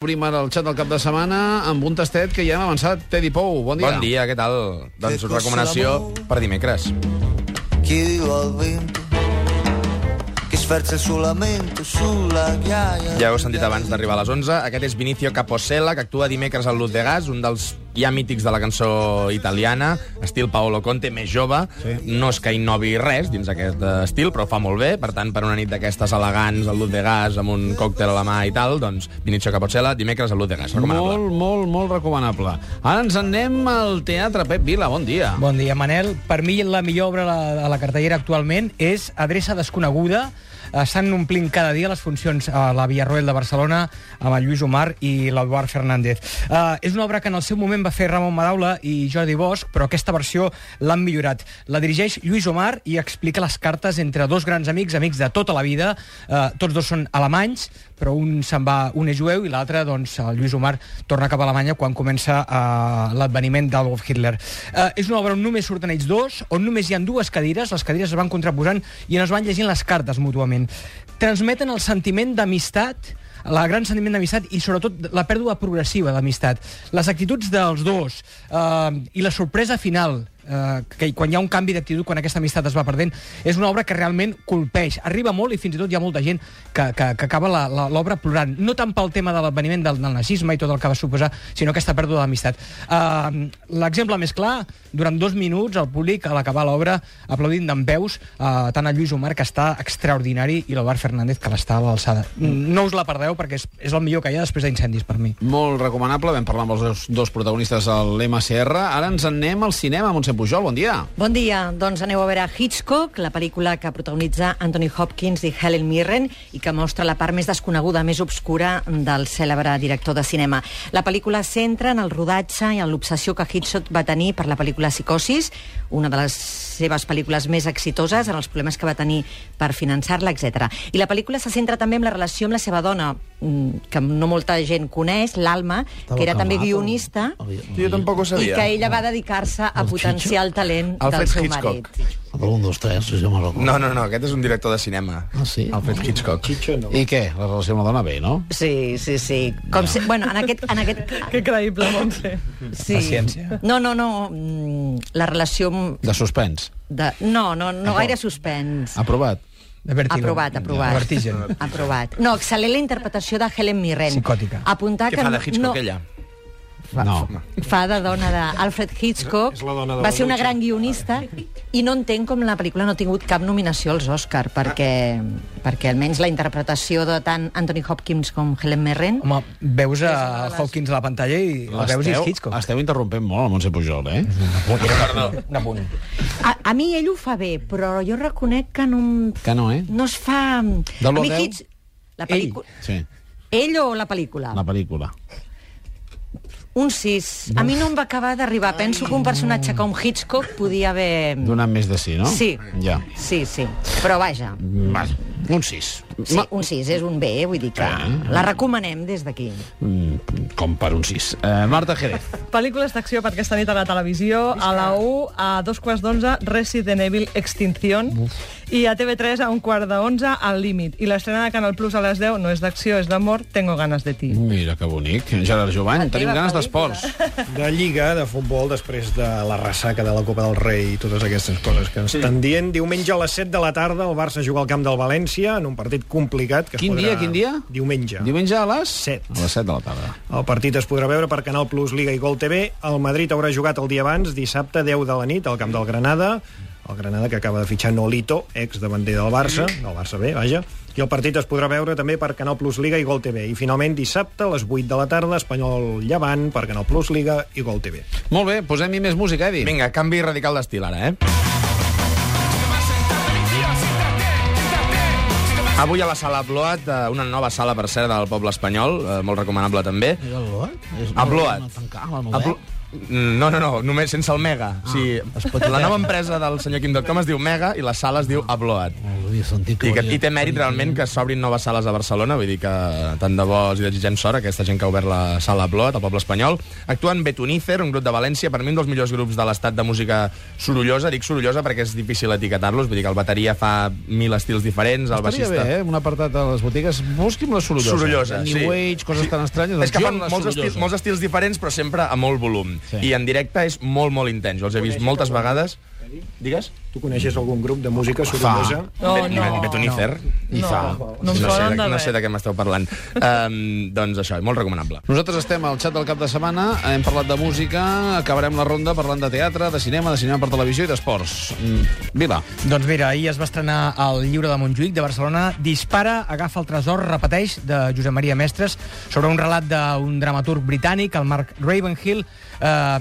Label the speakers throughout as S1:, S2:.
S1: Obrim ara el xat del cap de setmana amb un tastet que ja hem avançat. Teddy Pou, bon dia.
S2: Bon dia, què tal? Doncs
S3: Qué cosa
S2: recomanació
S3: d'amor.
S2: per dimecres.
S3: che vivo al vento, che sferza il suo lamento sulla ghiaia.
S2: Ja heu sentit abans d'arribar a les 11. Aquest és Vinicio Caposella, que actua dimecres al Luz de Gas, un dels ja mítics de la cançó italiana, estil Paolo Conte, més jove. Sí. No és que innovi res dins aquest eh, estil, però ho fa molt bé. Per tant, per una nit d'aquestes elegants al Luz de Gas, amb un còctel a la mà i tal, doncs Vinicio Caposella, dimecres al Luz de Gas. Recomanable.
S1: Molt, molt, molt recomanable. Ara ens anem al Teatre Pep Vila, bon dia.
S4: Bon dia, Manel. Per mi, la millor obra a la, a la cartellera actualment és Adreça desconeguda. Estan omplint cada dia les funcions a la Villarroel de Barcelona amb el Lluís Omar i l'Eduard Fernández. Uh, és una obra que en el seu moment va fer Ramon Madaula i Jordi Bosch, però aquesta versió l'han millorat. La dirigeix Lluís Omar i explica les cartes entre dos grans amics, amics de tota la vida. Uh, tots dos són alemanys, però un se'n va, un és jueu i l'altre, doncs, el Lluís Omar torna cap a Alemanya quan comença uh, l'adveniment d'Adolf Hitler. Uh, és una obra on només surten ells dos, on només hi han dues cadires, les cadires es van contraposant i on es van llegint les cartes mútuament. Transmeten el sentiment d'amistat la gran sentiment d'amistat i sobretot la pèrdua progressiva d'amistat. Les actituds dels dos eh, i la sorpresa final eh, que quan hi ha un canvi d'actitud, quan aquesta amistat es va perdent, és una obra que realment colpeix. Arriba molt i fins i tot hi ha molta gent que, que, que acaba la- la- l'obra plorant. No tant pel tema de l'adveniment del, del nazisme i tot el que va suposar, sinó aquesta pèrdua d'amistat. Uh, L'exemple més clar, durant dos minuts el públic a l'acabar l'obra aplaudint d'en veus uh, tant a Lluís Omar, que està extraordinari, i l'Obar Fernández, que l'està a l'alçada. No us la perdeu perquè és, és el millor que hi ha després d'incendis per mi.
S1: Molt recomanable, vam parlar amb els dos, dos protagonistes de l'MCR. Ara ens anem al cinema, Montse Pujol, bon dia.
S5: Bon dia. Doncs aneu a veure Hitchcock, la pel·lícula que protagonitza Anthony Hopkins i Helen Mirren i que mostra la part més desconeguda, més obscura del cèlebre director de cinema. La pel·lícula centra en el rodatge i en l'obsessió que Hitchcock va tenir per la pel·lícula Psicosis, una de les seves pel·lícules més exitoses, en els problemes que va tenir per finançar-la, etc. I la pel·lícula se centra també en la relació amb la seva dona, mm, que no molta gent coneix, l'Alma, que era també guionista
S2: Jo tampoc ho
S5: i que ella va dedicar-se a potenciar el talent
S2: Alfred
S5: del seu
S2: Hitchcock.
S5: marit.
S6: El 1, 2, 3, si jo me'n recordo.
S2: No, no, no, aquest és un director de cinema.
S6: Ah, sí?
S2: Alfred Hitchcock.
S1: I què? La relació amb la dona bé, no?
S5: Sí, sí, sí. Com si, bueno, en aquest... En aquest que creïble, Montse. Sí.
S4: Paciència.
S5: No, no, no. mm, La relació... amb-
S1: De suspens.
S5: De... No, no, no gaire suspens.
S1: Aprovat.
S4: De Vertigo.
S5: Aprovat, aprovat.
S4: Vertigen.
S5: Aprovat. No, excel·lent la interpretació de Helen Mirren.
S4: Psicòtica.
S5: Apuntar
S2: Què
S5: Ah, que
S2: fa de
S5: no-
S2: Hitchcock,
S5: no,
S2: ella?
S1: No.
S5: fa de dona d'Alfred Hitchcock, va ser una gran guionista i no entenc com la pel·lícula no ha tingut cap nominació als Oscar perquè, perquè almenys la interpretació de tant Anthony Hopkins com Helen Mirren
S4: Home, veus a Hawkins a la pantalla i la veus i és Hitchcock.
S1: esteu interrompent molt el Montse Pujol, eh?
S4: Un apunt.
S5: a, a mi ell ho fa bé, però jo reconec que no, em-
S1: Que no, eh?
S5: no es fa...
S1: De l'u
S5: a mi
S1: a deu?
S5: Hitch- la pel·lícula...
S1: Sí,
S5: Ell o la pel·lícula?
S1: la pel·lícula.
S5: Un 6. A mi no em va acabar d'arribar. Penso que un personatge com Hitchcock podia haver...
S1: Donant més de sí, no?
S5: Sí.
S1: Ja.
S5: Sí, sí. Però vaja,
S1: Vale. Un 6.
S5: Sí, un 6 és un bé, vull dir que la recomanem des d'aquí.
S1: Mm, Com per un 6. Eh, Marta Jerez.
S7: Pel·lícules d'acció per aquesta nit a la televisió, a la 1, a dos quarts d'onze, Resident Evil Extinción, i a TV3 a un quart d'onze, Al límit. I l'estrena de Canal Plus a les 10 no és d'acció, és d'amor, Tengo ganas de ti.
S1: Mira que bonic. Gerard Jovany,
S5: La
S1: tenim
S5: teva
S1: ganes
S5: pel·lícula.
S1: d'esports.
S8: de Lliga, de futbol, després de la ressaca de la Copa del Rei i totes aquestes coses que ens estan dient. Diumenge a les 7 de la tarda el Barça juga al camp del València en un partit complicat. Que es
S1: Quin
S8: podrà...
S1: dia, quin dia?
S8: Diumenge.
S1: Diumenge a les...
S8: Set.
S1: A les 7 de la tarda.
S8: El partit es podrà veure per Canal Plus Liga i Gol TV. El Madrid haurà jugat el dia abans, dissabte 10 de la nit, al camp del Granada. El Granada que acaba de fitxar Nolito, ex davanter del Barça, del Barça B, vaja. I el partit es podrà veure també per Canal Plus Liga i Gol TV. I finalment dissabte a les 8 de la tarda, Espanyol Llevant per Canal Plus Liga i Gol TV.
S1: Molt bé, posem-hi més música, Edi.
S2: Vinga, canvi radical d'estil ara, eh? Avui a la Sala Bloat, eh, una nova sala, per cert, del poble espanyol, eh, molt recomanable també.
S6: Era el Lot? És-
S2: A Bloat.
S6: Tancar, amb el
S2: A
S6: Modet?
S2: Blo- Mm, No, no, no, només sense el Mega. Ah, sí, la nova empresa del senyor Quim.com es diu Mega i la sala es diu Abloat.
S6: L'havia sentit que
S2: I, que,
S6: venia-
S2: I té mèrit realment que s'obrin noves sales a Barcelona, vull dir que tant de bo els hi desitgem sort, a aquesta gent que ha obert la sala Blot, al poble espanyol. Actuen Betunizer, un grup de València, per mi un dels millors grups de l'estat de música sorollosa, dic sorollosa perquè és difícil etiquetar-los, vull dir que el bateria fa mil estils diferents, el
S1: Estaria
S2: baixista...
S1: bé, eh? un apartat a les botigues. Busqui'm la sorollosa.
S2: Sorollosa,
S1: New
S2: sí.
S1: Age, coses tan estranyes.
S2: És que
S1: jo
S2: fan
S1: Doncs la
S2: molts,
S1: sorollosa.
S2: estils, molts estils diferents, però sempre a molt volum.
S1: Sí.
S2: Sí. I en directe és molt, molt intens. Jo els he vist moltes vegades... Digues?
S8: Tu coneixes algun grup de música
S1: Ah.
S8: sorollosa?
S7: Oh, No,
S2: Be-
S7: no.
S2: Betunizer.
S1: I fa.
S7: No em
S2: sé,
S7: sonen
S2: de-
S7: de
S2: no
S7: res.
S2: sé de què m'esteu parlant. Um, doncs això, molt recomanable.
S1: Nosaltres estem al xat del cap de setmana, hem parlat de música, acabarem la ronda parlant de teatre, de cinema, de cinema per televisió i d'esports. Mm. Vila.
S4: Doncs mira, ahir es va estrenar al Lliure de Montjuïc de Barcelona Dispara, agafa el tresor, repeteix, de Josep Maria Mestres, sobre un relat d'un dramaturg britànic, el Mark Ravenhill, eh,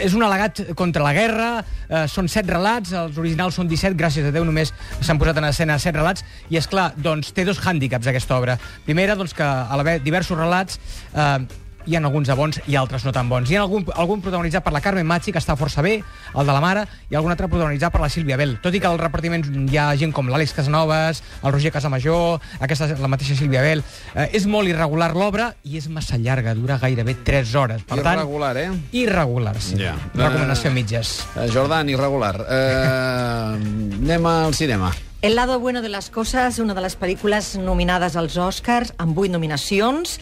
S4: és un al·legat contra la guerra, eh, són set relats, els originals són 17, gràcies a Déu només s'han posat en escena set relats, i és clar, doncs té dos hàndicaps aquesta obra. Primera, doncs que a l'haver diversos relats eh, hi ha alguns de bons i altres no tan bons. Hi ha algun, algun protagonitzat per la Carmen Machi, que està força bé, el de la mare, i algun altre protagonitzat per la Sílvia Bell. Tot i que al repartiment hi ha gent com l'Àlex Casanovas, el Roger Casamajor, aquesta, la mateixa Sílvia Bell. Eh, és molt irregular l'obra i és massa llarga, dura gairebé 3 hores. Per
S1: Irregular, eh?
S4: tant, irregulars.
S1: Ja.
S4: Recomanació
S1: Eh,
S4: a mitges.
S1: Eh, Jordan, irregular. Eh, anem al cinema.
S5: El lado bueno de las cosas, una de les pel·lícules nominades als Oscars, amb vuit nominacions,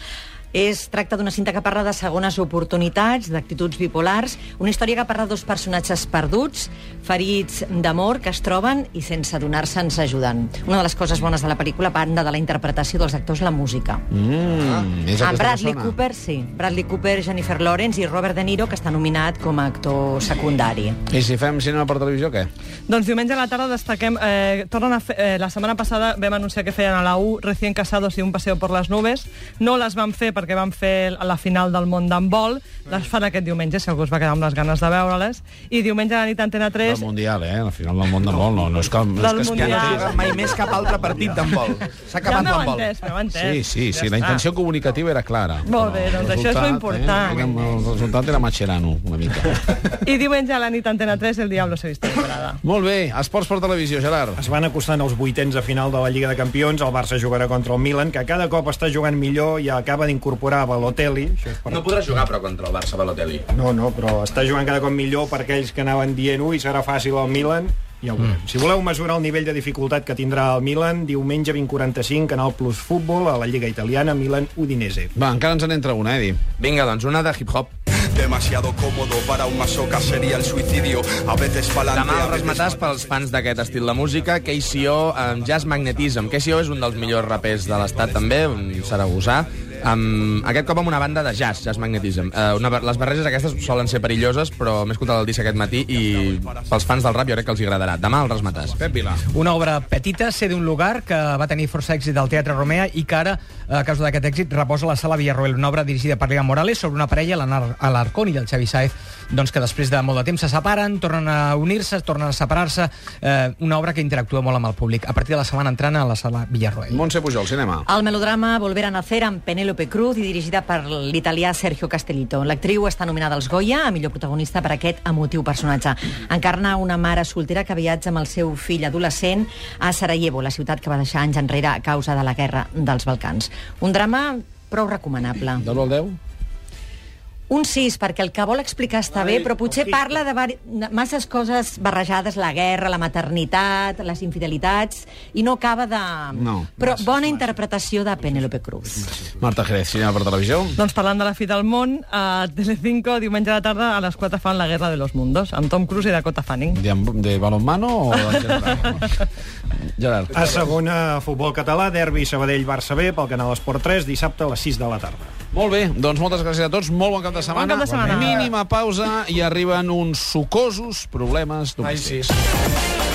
S5: es tracta d'una cinta que parla de segones oportunitats, d'actituds bipolars, una història que parla de dos personatges perduts, ferits d'amor, que es troben i sense adonar-se ens ajuden. Una de les coses bones de la pel·lícula, a banda de la interpretació dels actors, la música.
S1: Mm, és
S7: Ah.
S5: Amb
S1: aquesta
S5: Bradley
S1: persona.
S5: Cooper, sí. Bradley Cooper, Jennifer Lawrence i Robert De Niro, que està nominat com a actor secundari.
S1: I si fem cinema per televisió, què?
S7: Doncs diumenge a la tarda destaquem... Eh, tornen a fer, eh, la setmana passada vam anunciar que feien a la U Recién Casados i Un Paseo por las Nubes. No les van fer perquè van fer a la final del món d'handbol. Les fan aquest diumenge, si algú es va quedar amb les ganes de veure-les. I diumenge a la nit a Antena
S1: El
S7: 3...
S1: Mundial, eh? Al final del món de vol, no, no és que... No és
S7: Del
S1: que es
S7: Mundial.
S1: quedi-
S2: juga mai més cap altre partit d'handbol. S'ha
S7: Ja
S2: acabat
S7: m'heu
S2: l'handbol.
S7: entès, m'heu entès.
S1: Sí, sí, sí,
S7: Ja
S1: la
S7: està.
S1: intenció comunicativa era clara.
S7: Molt bé,
S1: Però el
S7: doncs això és lo
S1: resultat,
S7: important.
S1: Eh? El resultat era matxerano, una mica.
S7: I diumenge a la nit a Antena 3 El Diablo se viste de Prada.
S1: Molt bé, esports per televisió, Gerard.
S8: Es van acostant als vuitens de final de la Lliga de Campions, el Barça jugarà contra el Milan, que cada cop està jugant millor i acaba d'incorporar Balotelli, això és per
S2: No podrà jugar, però, contra el Barça Balotelli.
S8: No, no, però està jugant cada cop millor per aquells que anaven dient ui, serà fàcil el Milan, ja ho veurem. Si voleu mesurar el nivell de dificultat que tindrà el Milan, diumenge 20.45, Canal Plus Futbol, a la Lliga Italiana, Milan-Udinese.
S1: Va, encara ens n'entra una, Edi.
S2: Vinga, doncs, una de hip-hop.
S9: Demasiado cómodo para un masoca sería el suicidio. A veces
S2: Demà
S9: pa'lante, a
S2: els
S9: veces
S2: resmatàs pels fans d'aquest estil de música, KCO amb Jazz Magnetism. KCO és un dels millors rapers de l'estat, també, un saragossà. Amb, aquest cop amb una banda de jazz, Jazz Magnetism. Uh, una, les barreges aquestes solen ser perilloses, però m'he escoltat el disc aquest matí i pels fans del rap jo crec que els hi agradarà. Demà els resmatàs. Pep Vila.
S4: Una obra petita, ser d'un lugar, que va tenir força èxit al Teatre Romea i que ara, a causa d'aquest èxit, reposa a la Sala Villarroel, una obra dirigida per Lea Morales sobre una parella, l'Anar- l'Alarcón i el Xavi Saez, doncs que després de molt de temps se separen, tornen a unir-se, tornen a separar-se, eh, una obra que interactua molt amb el públic. A partir de la setmana entrant a la Sala Villarroel.
S1: Montse Pujol, cinema.
S5: El melodrama Volver a nacer amb Penélope Cruz i dirigida per l'italià Sergio Castellito. L'actriu està nominada als Goya a millor protagonista per aquest emotiu personatge. Encarna una mare soltera que viatja amb el seu fill adolescent a Sarajevo, la ciutat que va deixar anys enrere a causa de la guerra dels Balcans. Un drama prou recomanable.
S1: De l'1 al 10?
S5: Un 6, perquè el que vol explicar està bé, però potser parla de vari- de masses coses barrejades, la guerra, la maternitat, les infidelitats, i no acaba de...
S1: No,
S5: però bona interpretació de Penélope Cruz.
S1: Marta Jerez, cinema per televisió.
S7: Doncs parlant de la fi del món, a Telecinco, diumenge a la tarda, a les 4 fan La guerra de los mundos, amb Tom Cruise i Dakota Fanning.
S1: De, de balonmano o de general? Gerard.
S8: A segona, futbol català, derbi Sabadell-Barça B, pel Canal Esport 3, dissabte a les 6 de la tarda.
S1: Molt bé, doncs moltes gràcies a tots, molt bon cap de setmana.
S7: cap de setmana.
S1: Mínima pausa i arriben uns sucosos problemes domèstics. Ai, sí.